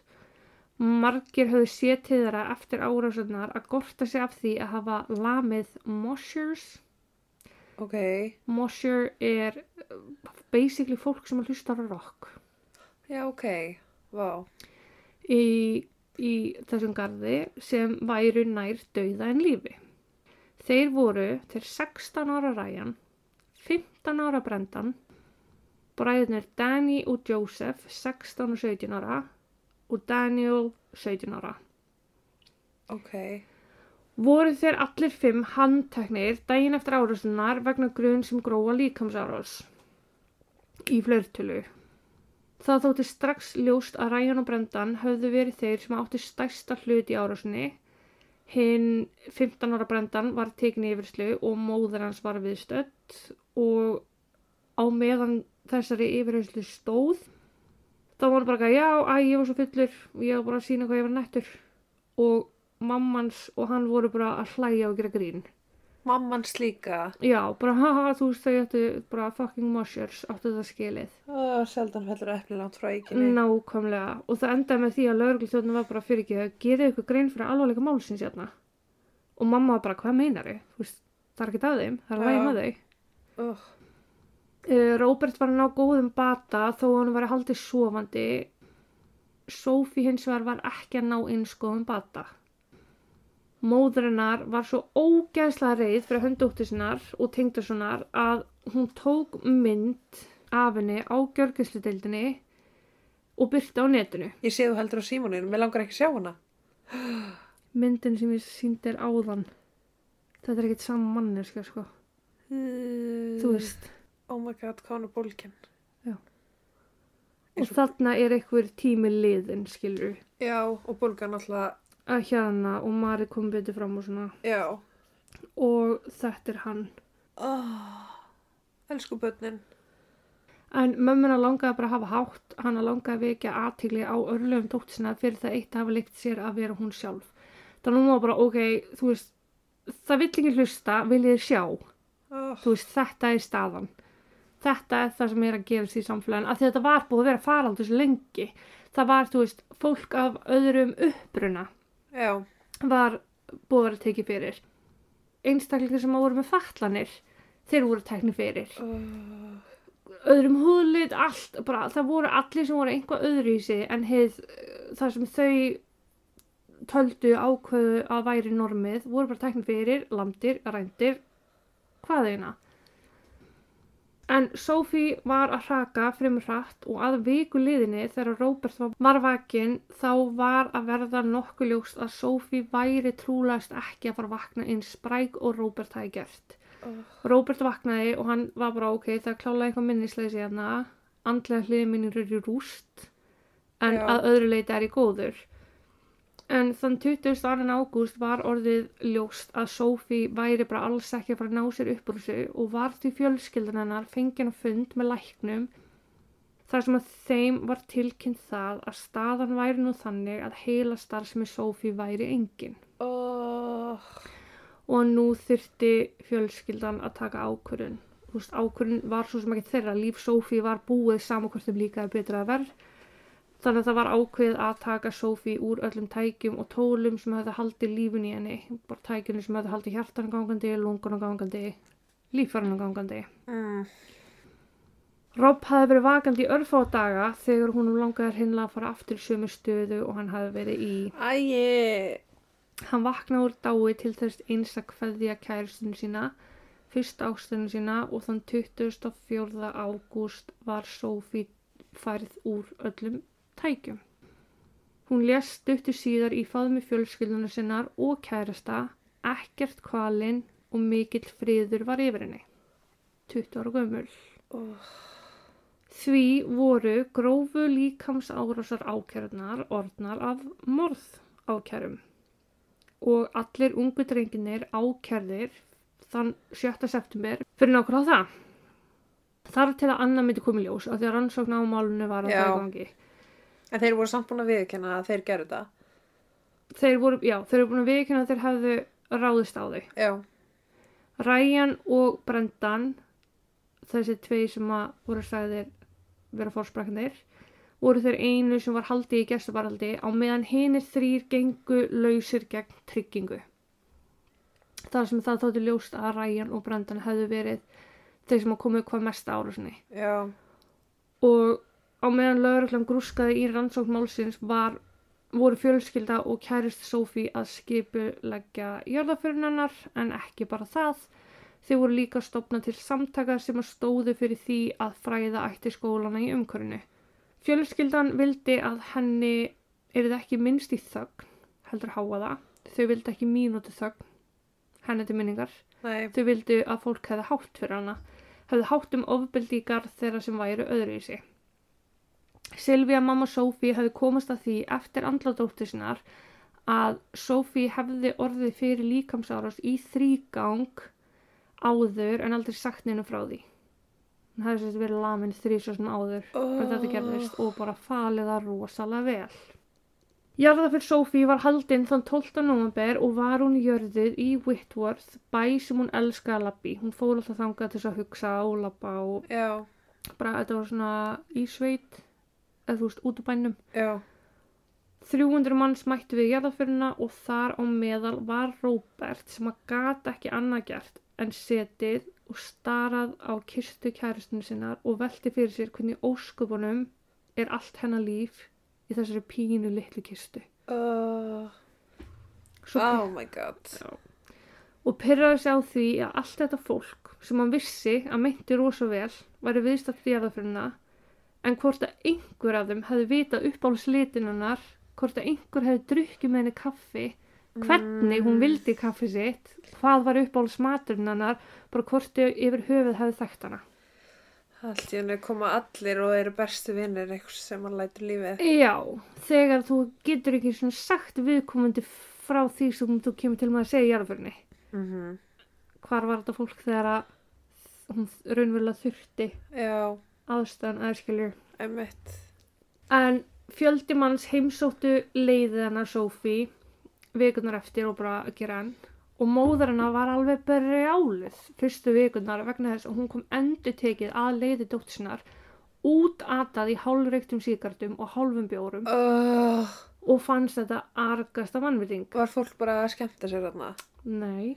Speaker 2: Margir höfðu séð til þeirra eftir árásunar að gorta sig af því að hafa lamið moshers.
Speaker 1: Ok.
Speaker 2: Mosher er uh, basically fólk sem hlustar á rock
Speaker 1: Já, ok. Vá.
Speaker 2: í, í þessum garði sem væru nær dauða en lífi. Þeir voru til 16 ára Ryan, 15 ára Brendan, bræðinir Danny og Joseph 16 og 17 ára og Daniel 17 ára.
Speaker 1: Ok.
Speaker 2: Voru þeir allir fimm handteknir daginn eftir árásunar vegna grun sem gróa líkamsárás í fleirtölu. Það þótti strax ljóst að Ryan og Brendan höfðu verið þeir sem átti stærsta hlut í árásunni. Hinn 15 ára Brendan var tekin í yfirslu og móður hans var viðstödd og á meðan þessari yfirherslu stóð þá var hann bara að já, æ, ég var svo fullur og ég var bara að sína hvað ég var nættur og mammans og hann voru bara að hlæja og gera grín.
Speaker 1: Mamman slíka.
Speaker 2: Já, bara haha, þú veist þau ættu bara fucking mushers áttu það skilið.
Speaker 1: Uh, seldan fellur epli langt frá eiginni.
Speaker 2: Nákvæmlega. Og það endaði með því að lögreglutjóðin var bara fyrir ekki að gera ykkur grein fyrir alvarleika málsins hérna. Og mamma var bara, hvað meinar þau? Þú veist, það er ekki að þeim, það er að
Speaker 1: Já.
Speaker 2: lægja með þau.
Speaker 1: Uh,
Speaker 2: Eh, Róbert var að ná góðum bata þó að hann var að haldi sofandi. Sophie hins vegar var ekki að ná eins góðum bata. Móðurinnar var svo ógeðslega reið fyrir höndóttir sinnar og tengdarsonar að hún tók mynd af henni á gjörgæsludeildinni og byrti á netinu.
Speaker 1: ég sé þú heldur á símaninu. Mér langar ekki að sjá hana.
Speaker 2: Myndin sem ég sýndi er áðan. Þetta er ekkert saman manneska sko,
Speaker 1: Mm.
Speaker 2: þú veist.
Speaker 1: Oh my god, hvað hann er bólkin.
Speaker 2: Og þarna er einhver tími liðin skilur
Speaker 1: Já, og bólgan alltaf,
Speaker 2: að hérna og Mari kom betur fram og svona
Speaker 1: já.
Speaker 2: og þetta er hann
Speaker 1: Oh, elsku börnin.
Speaker 2: en mömmuna langaði bara að hafa hátt hana langaði að vekja aðtigli á örlöfum dóttisina fyrir það eitt að hafa leikt sér að vera hún sjálf þannig hún var bara ok, þú veist það vill ekki hlusta, viljið þið sjá
Speaker 1: Oh,
Speaker 2: þú veist, þetta er staðan þetta er það sem er að gerast í samfélagin að þetta var búið að vera faraldur svo lengi það var, þú veist, fólk af öðrum uppruna
Speaker 1: já,
Speaker 2: var búið að vera tekið fyrir. Einstaklingar sem voru með fatlanir, þeir voru teknir fyrir.
Speaker 1: uh,
Speaker 2: Öðrum húðlit, allt, bara það voru allir sem voru einhvað öðru í sig en heið, það sem þau töldu ákveðu að væri normið, voru bara teknir fyrir, landir, rændir, hvað þeina. En Sophie var að hraka fremur hratt og að viku liðinni þegar Robert var- var vakinn þá var að verða nokkuð ljóst að Sophie væri trúlegast ekki að fara að vakna eins spræk og Robert hafi gert.
Speaker 1: Oh.
Speaker 2: Robert vaknaði og hann var bara ok, það klálaði eitthvað minnisleysi hérna, andlega hliði minn er í rúst en
Speaker 1: Já.
Speaker 2: að öðru leiti er í góður. En þann 22. ágúst var orðið ljóst að Sophie væri bara alls ekki að fara að ná sér upp úr þessu og var því fjölskyldan hennar fengin á fund með læknum þar sem að þeim var tilkynnt það að staðan væri nú þannig að heila starfsemi Sophie væri engin
Speaker 1: Oh,
Speaker 2: og nú þyrfti fjölskyldan að taka ákvörun. Þú veist, ákvörun var svo sem ekki þeirra, líf Sophie var búið saman hvort þeim líkaði betra að verð. Þannig að það var ákveðið að taka Sophie úr öllum tækjum og tólum sem hefði haldið lífun í henni. Bara tækjunum sem hefði haldið hjartan gangandi, lungunum gangandi, líffarnum gangandi.
Speaker 1: mm.
Speaker 2: Rob hafði verið vakandi í örfá daga þegar hún langaði hinnlega að fara aftur í sömu stöðu og hann hafði verið í.
Speaker 1: Æi,
Speaker 2: Hann vaknaði úr dái til þess eins að kveðja kæristinu sína, fyrst ástinu sína og þann 24. ágúst var Sophie færð úr öllum tækjum. Hún lést stuttu síðar í faðmi fjölskyldunum sinnar og kærasta, ekkert kvalinn og mikill friður var yfir henni. 20 ára gömul.
Speaker 1: oh,
Speaker 2: Því voru grófu líkamsárásar ákjörnar orðnar af morð ákjærum og allir ungu drenginir ákjærðir þann 7. september fyrir nákvæmlega það. Þar til að annað myndi komið ljós af því að rannsókn á málunni var að
Speaker 1: Já.
Speaker 2: það gangi.
Speaker 1: en þeir voru samt búin að viðkenna að þeir gerðu það.
Speaker 2: Þeir voru, já, þeir eru búin að viðkynna að þeir hefðu ráðist á þau.
Speaker 1: Já,
Speaker 2: Ryan og Brendan þessi tvei sem að voru sagðir vera fórsprakkandir voru þeir einu sem var haldið í gestabaraldi á meðan hinir þrýr gengu lausir gegn tryggingu þar sem það þótti ljóst að Ryan og Brendan hefðu verið þeir sem að komu hvað mest ára
Speaker 1: já,
Speaker 2: og á meðan lögreglan grúskaði í rannsókn málsins var, voru fjölskylda og kærist Sophie að skipuleggja jörðafyrin hennar en ekki bara það. Þeir voru líka stopna til samtaka sem að stóðu fyrir því að fræða ætti skólana í umkörinu. Fjölskyldan vildi að henni erið ekki minnst í þögn, heldur háa það. Þau vildi ekki mínútu þögn, henni til minningar.
Speaker 1: nei,
Speaker 2: Þau vildu að fólk hefði hátt fyrir hana, hefði hátt um ofbeldíkar þeirra sem væru öðruvísi. Silvía, mamma Sophie hefði komast að því eftir andladóttir sinnar að Sophie hefði orðið fyrir líkamsárás í þrýgang áður en aldrei sagt neina frá því. Hún hefði sérst verið lamin þrýsvarsum áður
Speaker 1: oh,
Speaker 2: og þetta gerðist og bara falið það rosalega vel. Jarða fyrir Sophie var haldinn þann 12. november og var hún jörðið í Whitworth, bæ sem hún elskaði að labbi. Hún fór alltaf þangað til þess að hugsa og labba og
Speaker 1: Já,
Speaker 2: bara þetta var svona í sveit, eða þú veist, út úr bænum.
Speaker 1: já,
Speaker 2: 300 manns mættu við jarðaföruna og þar á meðal var Róbert sem að gata ekki annað gert en setið og starað á kistu kæristinu sinnar og velti fyrir sér hvernig í ósköpunum er allt hennar líf í þessari pínu litlu kistu.
Speaker 1: oh,
Speaker 2: Svo
Speaker 1: oh my god.
Speaker 2: og pyrraði sig á því að allt þetta fólk sem hann vissi að meinti rosa vel væri viðstatt í jarðafruna en hvort að einhver af þeim hefði vitað uppáls litinunnar hvort að einhver hefði drukkið með henni kaffi hvernig hún vildi kaffi sitt hvað var uppáls maturnannar bara hvort þau yfir höfuð hefði þekkt hana
Speaker 1: Allt í henni koma allir og eru bestu vinnir eitthvað sem hann lætur lífið.
Speaker 2: Já, þegar þú getur ekki svona sagt viðkomandi frá því sem þú kemur til með að segja í jarðafrunni
Speaker 1: Mm
Speaker 2: hvar var þetta fólk þegar að hún raunverulega þurfti
Speaker 1: Já,
Speaker 2: aðstæðan aðskilur.
Speaker 1: einmitt.
Speaker 2: En fjöldi manns heimsóttu leiðið hennar Sophie vikunar eftir og bara að gera enn. Og móður hennar var alveg brjálið fyrstu vikunar vegna þess að hún kom endur tekið að leiði dóttisinnar út atað í hálfreiktum síkartum og hálfum bjórum
Speaker 1: Oh,
Speaker 2: og fannst þetta argasta vannviting.
Speaker 1: var fólk bara að skemmta sér þarna?
Speaker 2: Nei,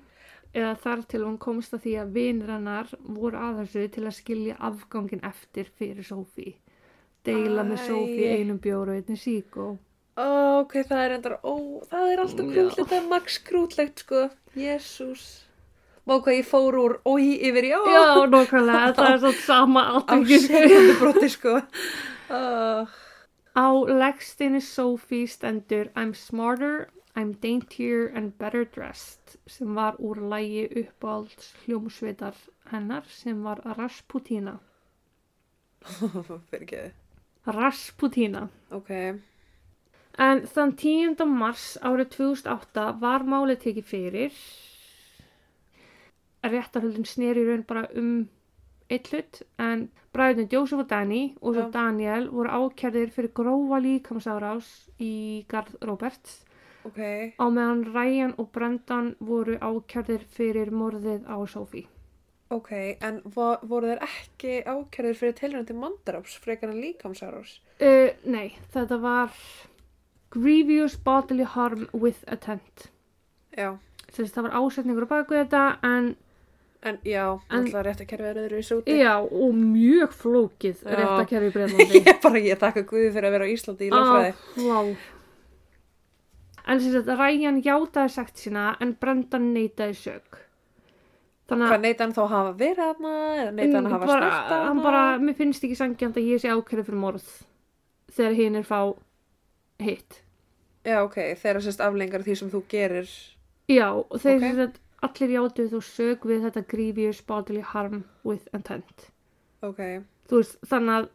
Speaker 2: eða þar til hún komst að því að vinir hennar voru að þessu til að skilja afgangin eftir fyrir Sophie. Deila með
Speaker 1: Æ.
Speaker 2: Sophie einum bjóru og einni síkó.
Speaker 1: Ó, Uh, ok, það er endar, ó, það er alltaf
Speaker 2: Já.
Speaker 1: krútlegt, það er max krútlegt, sko. Jésús. Má hvað ég fór úr, ói, yfir, já.
Speaker 2: Já, nákvæmlega, þetta er svona sama
Speaker 1: Á
Speaker 2: aðtöngir.
Speaker 1: segundu broti, sko. Oh,
Speaker 2: Á legstinni Sophie stendur I'm smarter, I'm daintier and better dressed sem var úr lægi uppáhalds hljómsveitar hennar sem var Rasputina.
Speaker 1: fyrir ekki.
Speaker 2: Rasputina.
Speaker 1: Ok,
Speaker 2: En þann 10. mars árið 2008 var málið tekið fyrir. Réttarhöldin sneri í raun bara um eitt hlut en bræðinu Jósef og Dani og svo
Speaker 1: Já.
Speaker 2: Daniel voru ákjærðir fyrir grófa líkamsárás í Garð Roberts
Speaker 1: ok,
Speaker 2: á meðan Ryan og Brendan voru ákjærðir fyrir morðið á Sophie.
Speaker 1: ok, en vo, voru þeir ekki ákjörður fyrir tilrænti mandaráps frekar en líkamsárás?
Speaker 2: Uh, nei, þetta var Grievous Bodily Harm with Attempt.
Speaker 1: Já,
Speaker 2: Þess að það var ásetningur á baku þetta en
Speaker 1: en já,
Speaker 2: En-
Speaker 1: alltaf rétt að kerfi er öðru í súti.
Speaker 2: já og mjög flókið
Speaker 1: Já.
Speaker 2: réttakerfi í Breitlandi.
Speaker 1: Ég bara, ég þakka Guði fyrir að vera á Íslandi í
Speaker 2: Á,
Speaker 1: lögfræði.
Speaker 2: vá. En sem sagt, Ryan játaði sagt sína en Brendan neytaði sög. Þannig
Speaker 1: Hvað neyta hann þá að hafa verið hana eða neyta hann að hafa
Speaker 2: bara,
Speaker 1: snert hana?
Speaker 2: hann bara, mér finnst ekki sangjant að ég sé ákæri fyrir morð þegar hinn er fá hitt.
Speaker 1: Já, ok, þeirra sérst aflengar því sem þú gerir.
Speaker 2: Já, og þeir
Speaker 1: Ok.
Speaker 2: okay. sem sagt, allir játuðu þú sög við þetta grievous bodily harm with intent.
Speaker 1: Ok,
Speaker 2: Þú veist, þannig að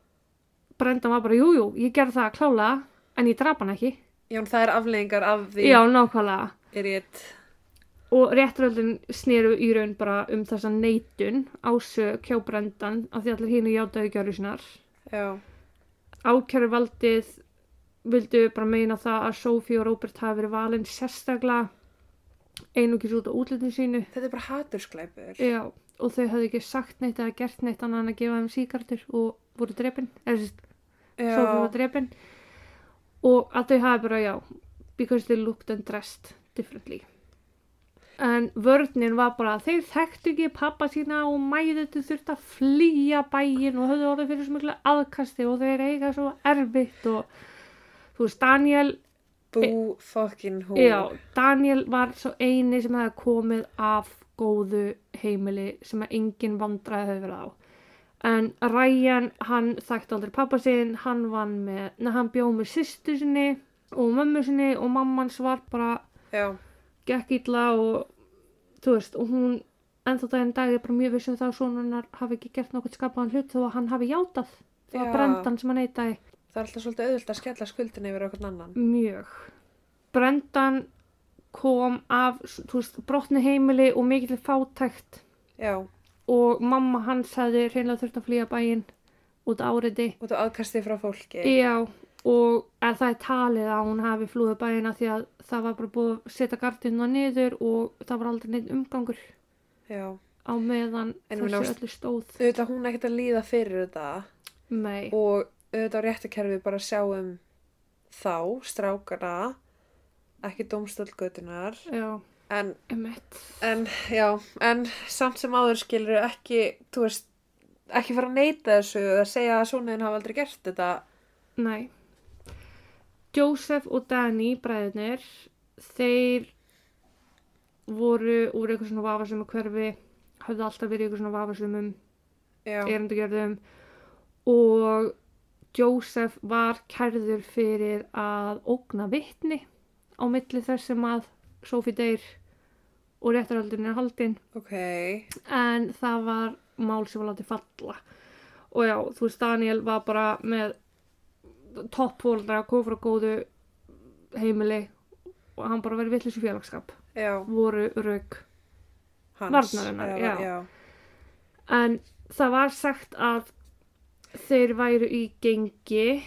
Speaker 2: Brendan var bara, jú, jú, ég gerði það að klála en ég drap hann ekki.
Speaker 1: já, en það er aflengar af því
Speaker 2: Já, nákvæmlega.
Speaker 1: er ég eitt...
Speaker 2: og réttaröldin sneru í raun bara um þessa neitun á sög hjá brendan af því allir hínu játaðu gjöru sinnar.
Speaker 1: Já,
Speaker 2: Ákjæruvaldið vildu bara meina það að Sophie og Robert hafi verið valin sérstaklega einungis út á útlutin sínu.
Speaker 1: þetta er bara hatursglæpur.
Speaker 2: Já, og þau hafði ekki sagt neitt eða gert neitt annað en að gefa þeim síkartur og voru drepin, eða sérst Sophie var
Speaker 1: Já,
Speaker 2: drepin og að þau hafi bara já because they looked and dressed differently en vörninn var bara að þeir þekktu ekki pappa sína og mæðutu þurft að flýja bæin og höfðu orðið fyrir svo miklu aðkasti og þeir eiga svo erfitt og þú veist Daniel
Speaker 1: bú fokkin hú.
Speaker 2: já, Daniel var svo eini sem hefði komið af góðu heimili sem að engin vandraði hefur verið á en Ryan, hann þekkti aldrei pappa sinn, hann vann með neða hann bjóð með systur sinni og mömmu sinni og mamman svar bara
Speaker 1: Já,
Speaker 2: gekk illa og þú veist, og hún ennþá daginn dag er bara mjög vissum það að sonunnar hafi ekki gert nokkuð skapaðan hlut þó að hann hafi játað það var
Speaker 1: Já.
Speaker 2: brendan sem hann neitaði
Speaker 1: það er alltaf svolítið auðvilt að skella skuldin yfir okkur annan.
Speaker 2: mjög brendan kom af þú veist, brotni heimili og mikil fátækt
Speaker 1: Já,
Speaker 2: og mamma hans hefði reynilega þurft að flýja bæinn út af áriði
Speaker 1: út á aðkastið frá fólki.
Speaker 2: Já, og að það er talið að hún hafi flúið bæina því að það var bara búið að setja gardinu niður og það var aldrei neitt umgangur
Speaker 1: Já,
Speaker 2: á meðan
Speaker 1: En
Speaker 2: þessu
Speaker 1: hún ást-
Speaker 2: öllu stóð.
Speaker 1: auðvitað hún er ekkert að líða fyrir þetta
Speaker 2: Nei,
Speaker 1: og auðvitað á réttakerfið bara að sjá um þá, strákana, ekki domstölgötunar.
Speaker 2: já,
Speaker 1: En,
Speaker 2: emmett.
Speaker 1: en, já, en samt sem áður skilur ekki, þú veist, ekki fara að neyta þessu eða segja að svonaðin hafa aldrei gert þetta.
Speaker 2: Nei. Joseph og Danny, bræðinir, þeir voru úr eitthvað svona vafasömu hverfi, hafði alltaf verið í eitthvað svona vafasömum
Speaker 1: Já,
Speaker 2: erindagjörðum og Jósef var kærður fyrir að ógna vittni á milli þess sem að Sophie deyr og réttaröldin er haldin
Speaker 1: ok,
Speaker 2: en það var mál sem var látið falla og já, þú veist Daniel var bara með toppfóldra, kom frá góðu heimili og hann bara verið vittlis í félagskap
Speaker 1: já,
Speaker 2: voru rauk
Speaker 1: hans.
Speaker 2: Varnarinnar,
Speaker 1: eða-
Speaker 2: já.
Speaker 1: já.
Speaker 2: En það var sagt að þeir væru í gengi.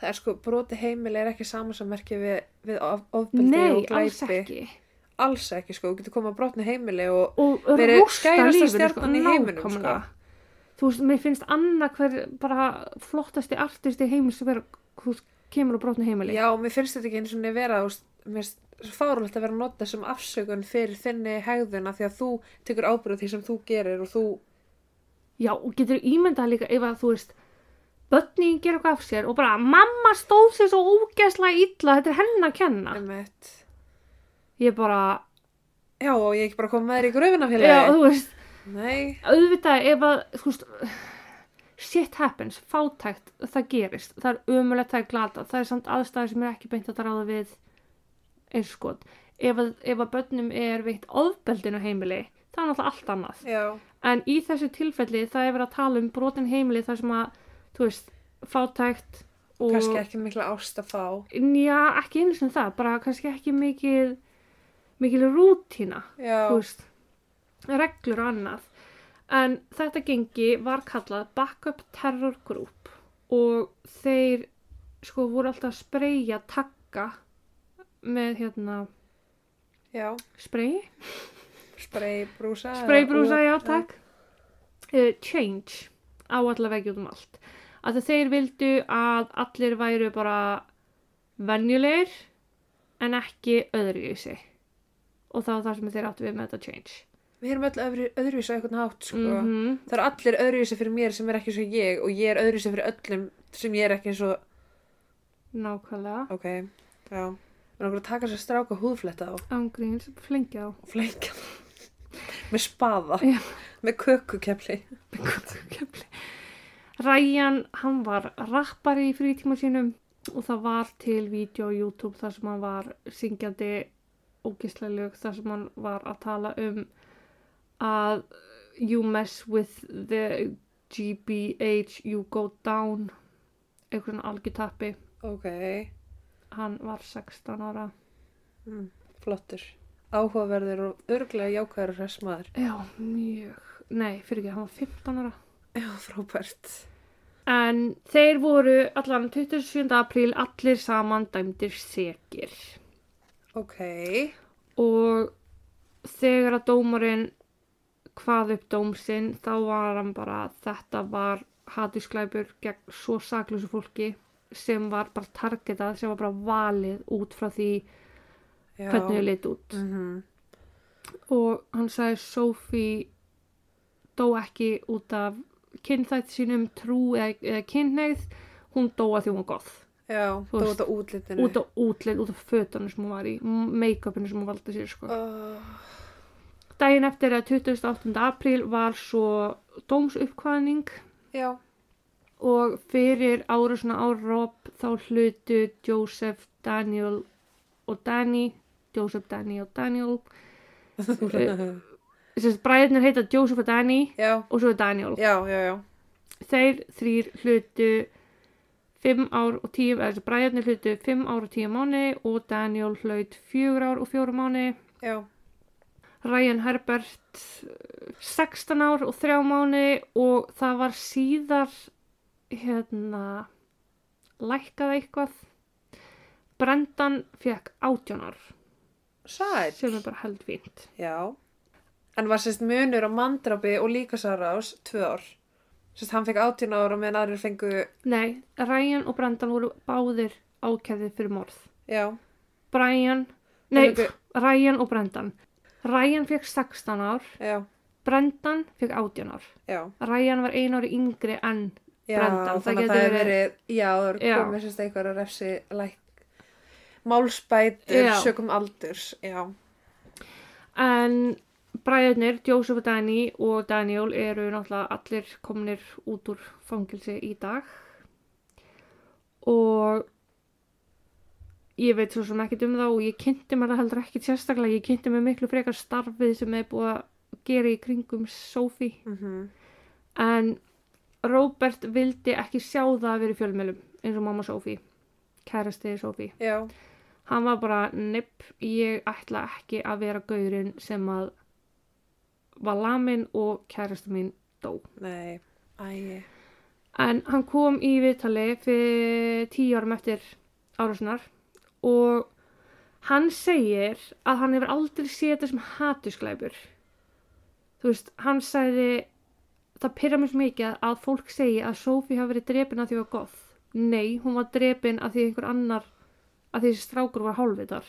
Speaker 1: Það er sko, broti heimil er ekki samansammerki við, við of- ofbeldi og
Speaker 2: Nei,
Speaker 1: glæpi.
Speaker 2: alls ekki.
Speaker 1: Alls ekki, sko, þú getur komað að brotna heimili og
Speaker 2: Og
Speaker 1: Verið
Speaker 2: rústa
Speaker 1: skærasta
Speaker 2: lífinu, sko,
Speaker 1: stjarnan í heiminum,
Speaker 2: nákvæmlega. Þú veist, mér finnst annað hver bara flottasti artisti heimil sem vera, þú veist, kemur og brotna heimili.
Speaker 1: já, mér finnst þetta ekki eins og niður vera, þú veist, mér finnst svo fárulegt að vera að nota sem afsökun fyrir þinni hegðuna því að þú tekur ábyrgð á því sem þú gerir og þú,
Speaker 2: Já, og getur ímyndað líka ef að, þú veist, börnin gera eitthvað af sér og bara, mamma stóð sér svo ógeðslega illa, þetta er henn að kenna.
Speaker 1: emmett,
Speaker 2: Ég bara,
Speaker 1: já, og ég ekki bara koma með þér í gröfina
Speaker 2: já,
Speaker 1: félagi.
Speaker 2: þú veist,
Speaker 1: Nei,
Speaker 2: auðvitað ef að þú veist, shit happens, fátækt það gerist, það er umulegt það er glata, það er samt aðstæður sem er ekki beint að ráða við eins skot ef að, ef að börnum er veitt ofbeldin á heimili, það er náttúrulega allt annað
Speaker 1: já,
Speaker 2: en í þessu tilfelli það er verið að tala um brotin heimili þar sem að þú veist, fátækt og
Speaker 1: kannski ekki mikla ást að fá.
Speaker 2: já, ekki einu sem það, bara kannski ekki mikið mikil rútína
Speaker 1: Já,
Speaker 2: þú veist, reglur og annað En þetta gengi var kallað Backup Terror Group og þeir sko voru alltaf að spreyja takka með hérna
Speaker 1: Já,
Speaker 2: spreyi,
Speaker 1: spraybrúsa. eða-
Speaker 2: spreybrúsa, já
Speaker 1: Mm.
Speaker 2: takk, uh, change á alla veggi út um allt. Að þeir vildu að allir væru bara venjulegir en ekki öðruvísi og það var það sem þeir áttu við með þetta change.
Speaker 1: Við erum öll öðru, öðruvísi á einhvern hátt, sko.
Speaker 2: Mm
Speaker 1: Það eru allir öðruvísi fyrir mér sem er ekki eins og ég og ég er öðruvísi fyrir öllum sem ég er ekki eins og,
Speaker 2: Nákvæmlega.
Speaker 1: ok, já. Mér langar að taka þess að stráka húðfletta á
Speaker 2: Ángríns, flengja á.
Speaker 1: og fleika það. með spaða,
Speaker 2: Já.
Speaker 1: með kökukefli.
Speaker 2: Köfli. Ryan, hann var rappari í frítíma sínum og það var til vídeo á YouTube þar sem hann var syngjandi ógislega lög þar sem hann var að tala um að you mess with the GBH, you go down einhvern algjutappi
Speaker 1: Ok,
Speaker 2: hann var 16 ára
Speaker 1: mm. flottur. Áhugaverður og örglega jákvæður og hress maður.
Speaker 2: já, mjög, nei, fyrir ekki, hann var 15 ára
Speaker 1: Já, frábært.
Speaker 2: En þeir voru allan 27. apríl allir saman dæmdir sekir
Speaker 1: Ok,
Speaker 2: og þegar að dómarinn hvað upp dómsinn þá var hann bara þetta var hatusglæpur gegn svo saklausu fólki sem var bara targetað, sem var bara valið út frá því
Speaker 1: já.
Speaker 2: hvernig þau lit út
Speaker 1: Mm
Speaker 2: og hann sagði Sophie dó ekki út af kynþætt sínum trú eða, eða kynneið hún dó að því hún var goth
Speaker 1: Já,
Speaker 2: Þú
Speaker 1: það
Speaker 2: veist,
Speaker 1: út á útlitinu.
Speaker 2: út á útlið, út á fötunum sem hún var í m- make-upinu sem hún valdi sér sko.
Speaker 1: Oh,
Speaker 2: Daginn eftir að 28. apríl var svo dómsuppkvæðning
Speaker 1: já,
Speaker 2: og fyrir ára svona á Rob þá hlutu Joseph, Daniel og Danny Joseph, Danny og eh, Daniel þess að bræðirnir heita Joseph og Danny
Speaker 1: já,
Speaker 2: og svo er Daniel
Speaker 1: já, já, já.
Speaker 2: þeir þrýr hlutu 5 ár og 10 eða þessi bræðarnir hlutu 5 ár og 10 mánu og Daniel hlaut 4 ár og 4 mánu
Speaker 1: já.
Speaker 2: Ryan Herbert eh, 16 ár og 3 mánu og það var síðar hérna lækkað eitthvað Brendan fekk 18 ár
Speaker 1: Sæl.
Speaker 2: sem er bara held fínt
Speaker 1: Já. En var sérst munur á mandrapi og líkasárás tvö ár. Sérst hann fekk 18 ára meðan aðrir fengu,
Speaker 2: Nei, Ryan og Brendan voru báðir ákæðið fyrir morð
Speaker 1: já,
Speaker 2: Brian, nei,
Speaker 1: Fengu-
Speaker 2: Ryan og Brendan. Ryan fekk 16 ár,
Speaker 1: já,
Speaker 2: Brendan fekk 18 ár.
Speaker 1: já.
Speaker 2: Ryan var einu ári yngri en,
Speaker 1: Já,
Speaker 2: Brendan, það
Speaker 1: þannig að
Speaker 2: getur
Speaker 1: það hefur
Speaker 2: verið-
Speaker 1: verið, já, það er
Speaker 2: Já.
Speaker 1: komið sérst einhver að refsi, læk, málsbætur,
Speaker 2: Já.
Speaker 1: sökum aldurs, já,
Speaker 2: en bræðurnir, Joseph og Danny og Daniel eru náttúrulega allir komnir út úr fangilsi í dag og ég veit svo sem ekkert um þá og ég kynnti mér það heldur ekkert sérstaklega, ég kynnti mér miklu frekar starfið sem er búið að gera í kringum Sophie
Speaker 1: mhm,
Speaker 2: en Robert vildi ekki sjá það að vera í fjölmjölum eins og mamma Sophie kærastiði Sophie
Speaker 1: já,
Speaker 2: hann var bara nipp, ég ætla ekki að vera gaurinn sem að var lamin og kærasti mín dó
Speaker 1: nei, ægi,
Speaker 2: en hann kom í viðtali fyrir tíu árum eftir árásnar og hann segir að hann hefur aldrei séð þetta sem hatusglæpur þú veist, hann sagði það pyrra mér svo mikið að fólk segi að Sophie hafi verið drepin að því hún var goth nei, hún var drepin að því einhver annar að því þessi strákur var hálfvitar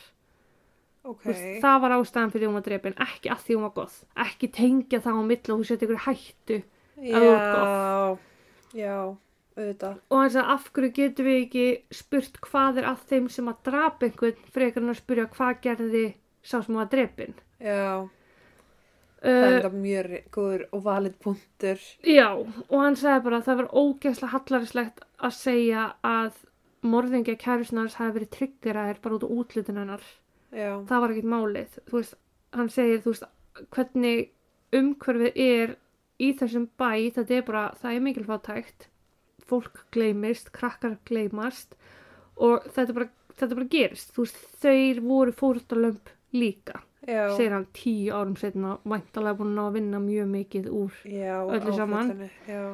Speaker 1: ok,
Speaker 2: Þú veist, það var ástæðan fyrir því hún var drepin ekki að því hún var goth, ekki tengja það á milli og hún setja ykkur í hættu
Speaker 1: já,
Speaker 2: þú
Speaker 1: já, auðvitað,
Speaker 2: og hann sagði af hverju getum við ekki spurt hvað er að þeim sem að drapa einhvern frekar en að spyrja hvað gerði sá sem var drepin
Speaker 1: já, það er
Speaker 2: uh,
Speaker 1: þetta mjög ri- góður og valid punktur,
Speaker 2: já, og hann sagði bara að það var ógeðslega hallarislegt að segja að morðingja kærusnars hafi verið tryggeraðir bara út á útlutin hennar
Speaker 1: já,
Speaker 2: það var ekkert málið þú veist, hann segir þú veist, hvernig umhverfið er í þessum bæ, þetta er bara það er mikil fátækt fólk gleymist, krakkar gleymast og þetta bara, þetta bara gerist þú veist, þeir voru fórtalömp líka
Speaker 1: já,
Speaker 2: segir hann tíu árum setna væntalega búin að ná að vinna mjög mikið úr
Speaker 1: já,
Speaker 2: öllu saman.
Speaker 1: áfallinu, já,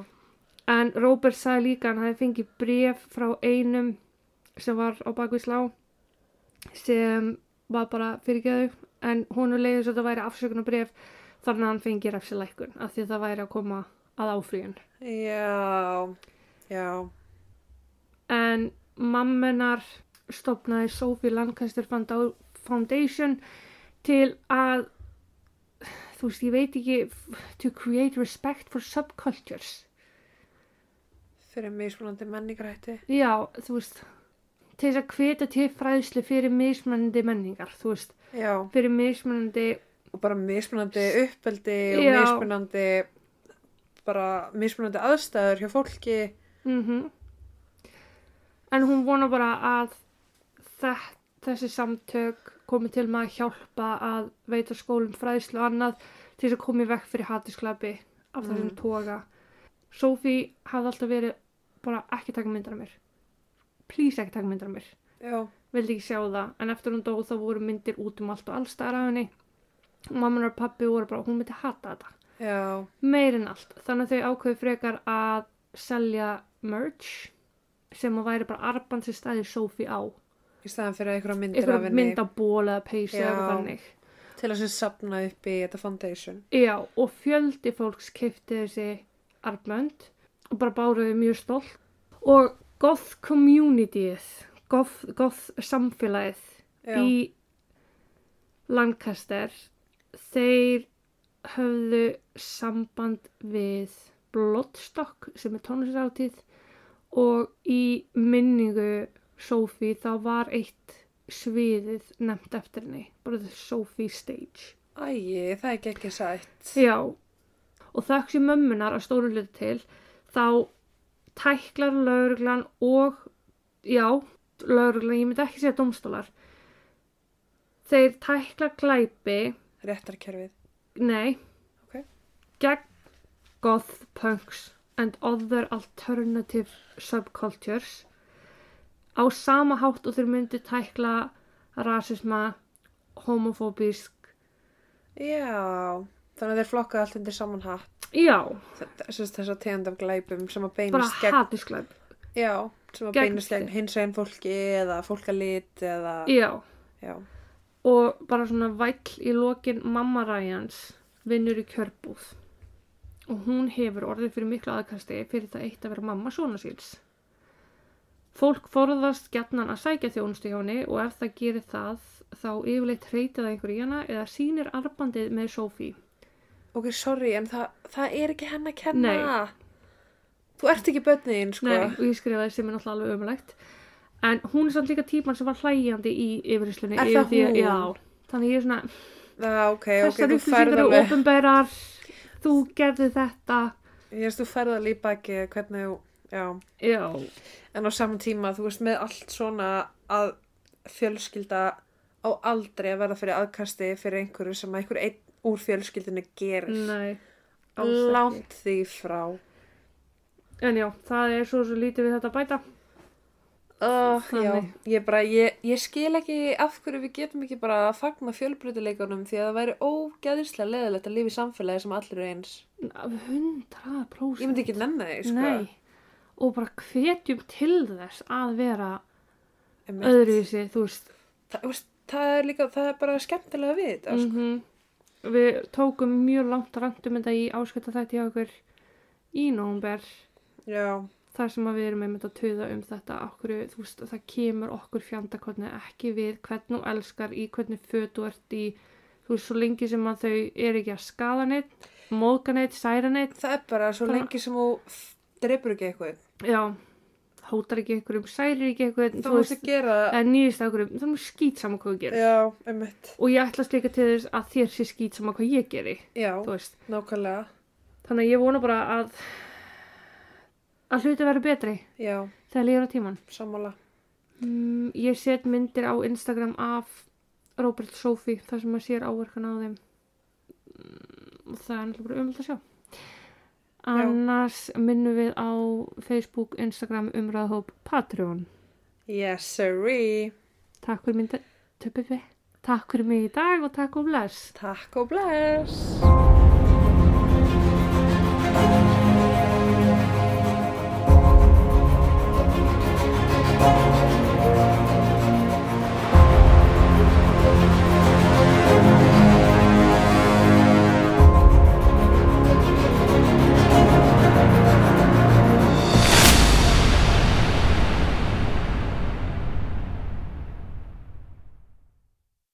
Speaker 2: en Robert sagði líka að hann hefði fengið bref frá einum sem var á bakvið slá sem var bara fyrirgeðu en hún er leiðis að þetta væri afsökunarbref þannig að hann fengi refsilækkun af því að það væri að koma að áfríun
Speaker 1: já, já,
Speaker 2: en mammenar stopnaði Sophie Lancaster Founda- Foundation til að þú veist, ég veit ekki to create respect for subcultures
Speaker 1: fyrir mismunandi menningrætti,
Speaker 2: Já, þú veist, til þess að hvita til fræðslu fyrir mismunandi menningar, þú veist,
Speaker 1: já,
Speaker 2: fyrir mismunandi,
Speaker 1: og bara mismunandi uppeldi og
Speaker 2: Já.
Speaker 1: mismunandi, bara mismunandi aðstæður hjá fólki,
Speaker 2: mhm. En hún vonar bara að þett, þessi samtök komi til með að hjálpa að veita skólum fræðslu og annað til þess að komi vekk fyrir hatisklapi af þessum
Speaker 1: Mm.
Speaker 2: toga. Sophie hafði alltaf verið bara ekki taka myndar af mér. Please ekki taka myndar af mér.
Speaker 1: já,
Speaker 2: vildi ekki sjá það en eftir hún dó þá voru myndir út um allt og allstæðar af henni mamman og pappi voru bara hún myndi hata þetta
Speaker 1: já,
Speaker 2: meir en allt þannig að þau ákveðu frekar að selja merch sem að væri bara arban sem stæði Sophie á
Speaker 1: í staðan fyrir einhverja myndir af
Speaker 2: einhver
Speaker 1: henni
Speaker 2: myndaból eða peysu eða eitthvað
Speaker 1: Já.
Speaker 2: þannig
Speaker 1: til að sem sapna upp í þetta foundation,
Speaker 2: já og fjöldi fólks keipti þessi arbönd og bara báruði mjög stolt og goth communityið goth, goth samfélagið
Speaker 1: já,
Speaker 2: í Lancaster þeir höfðu samband við Bloodstock sem er tónlistaráttíð og í minningu Sophie þá var eitt sviðið nefnt eftir henni bara the Sophie Stage
Speaker 1: ægi, það er ekki sætt,
Speaker 2: Já, og þökk sem mömmunar að stóru hluti til, þá tæklar lauruglan og, já, lauruglan, ég myndi ekki segja domstólar, þeir tækla glæpi,
Speaker 1: réttarkerfið,
Speaker 2: nei,
Speaker 1: Ok.
Speaker 2: gegn goth punks and other alternative subcultures á sama hátt og þeir myndu tækla rasisma, homofóbísk,
Speaker 1: já, þannig að þeir flokkaði allt undir saman hatt.
Speaker 2: já,
Speaker 1: þess að tegund af glæpum sem að
Speaker 2: bara
Speaker 1: beinist gegn,
Speaker 2: hatusglæp.
Speaker 1: já, sem að
Speaker 2: gegn
Speaker 1: beinist gegn
Speaker 2: þér.
Speaker 1: hins einn fólki eða fólkalit eða,
Speaker 2: Já.
Speaker 1: já,
Speaker 2: og bara svona væll í lokin mamma Ryans vinnur í kjörbúð og hún hefur orðið fyrir miklu aðkasti fyrir það eitt að vera mamma svona síls. Fólk forðast gjarnan að sækja þjónustu hjá henni og ef það gerir það þá yfirleitt hreytið það einhverju hana eða sýnir arbandið með Sophie.
Speaker 1: ok, sorry en það, það er ekki henn að kenna
Speaker 2: Nei.
Speaker 1: þú ert ekki bönniðin, sko
Speaker 2: Nei, og ég skrifaði sem er náttúrulega alveg ömulegt. En hún er samt líka típan sem var hlægjandi í yfirhyslunni.
Speaker 1: Er
Speaker 2: yfir
Speaker 1: það
Speaker 2: því að-
Speaker 1: hún?
Speaker 2: Já, þannig ég er svona,
Speaker 1: það, ok, ok,
Speaker 2: þessar
Speaker 1: þú færð
Speaker 2: upplýsingar eru
Speaker 1: alveg
Speaker 2: ofinbærar, þú gerði þetta.
Speaker 1: ég veist, þú færð alveg í baki hvernig, þú- já,
Speaker 2: Já,
Speaker 1: en á saman tíma þú veist, með allt svona að fjölskylda á aldrei að verða fyrir aðkasti fyrir einhverju sem að einhver einn úr fjölskyldinu gerir
Speaker 2: Nei, alls ekki.
Speaker 1: langt því frá
Speaker 2: En já, það er svo svo lítið við þetta að bæta.
Speaker 1: Oh, já,
Speaker 2: Þannig.
Speaker 1: ég, bara, ég, ég skil ekki af hverju við getum ekki bara að fagna fjölbreytileikunum því að það væri ógæðislega leðilegt að lifa í samfélagi sem allir er eins.
Speaker 2: Hundrað prósent.
Speaker 1: Ég myndi ekki nenni því, sko.
Speaker 2: Nei, og bara hvetjum til þess að vera
Speaker 1: Einmitt.
Speaker 2: öðruvísi, þú veist.
Speaker 1: Það, þú veist, það er líka, það er bara skemmtilega við þetta, sko.
Speaker 2: Mm Við tókum mjög langt randum þetta í áskölda þetta hjá okkur í nómber Mm.
Speaker 1: sko. Já,
Speaker 2: þar sem að við erum einmitt að tuða um þetta okkur, þú veist, það kemur okkur fjandakotni ekki við hvern þú elskar í hvernig föt þú ert í þú veist, svo lengi sem að þau er ekki að skada neitt, móðga neitt, særa neitt
Speaker 1: það er bara svo
Speaker 2: Bara-
Speaker 1: lengi sem þú f- drepur ekki eitthvað.
Speaker 2: já, hótar ekki einhverjum, særir ekki einhverjum,
Speaker 1: Það mást að gera,
Speaker 2: eða nýðist einhverjum, það er mjög skýt saman hvað þú gerir.
Speaker 1: já, einmitt,
Speaker 2: Og ég ætlast líka til þess að þér sé skýt saman hvað ég geri,
Speaker 1: já,
Speaker 2: þú veist.
Speaker 1: nákvæmlega,
Speaker 2: Þannig að ég vona bara að, að hluti verður betri
Speaker 1: já,
Speaker 2: þegar líður á tíman.
Speaker 1: sammála.
Speaker 2: Mm, ég set myndir á Instagram af Robert Sophie, þar sem maður sér áverkan á þeim. Mm, og Það er náttúrulega bara umhald að sjá. Annars minnum við á Facebook, Instagram, umræðahóp, Patreon.
Speaker 1: Yes, sirree.
Speaker 2: Takk fyrir mynda, töpuppi. Takk fyrir mig í dag og takk og bless.
Speaker 1: Takk og bless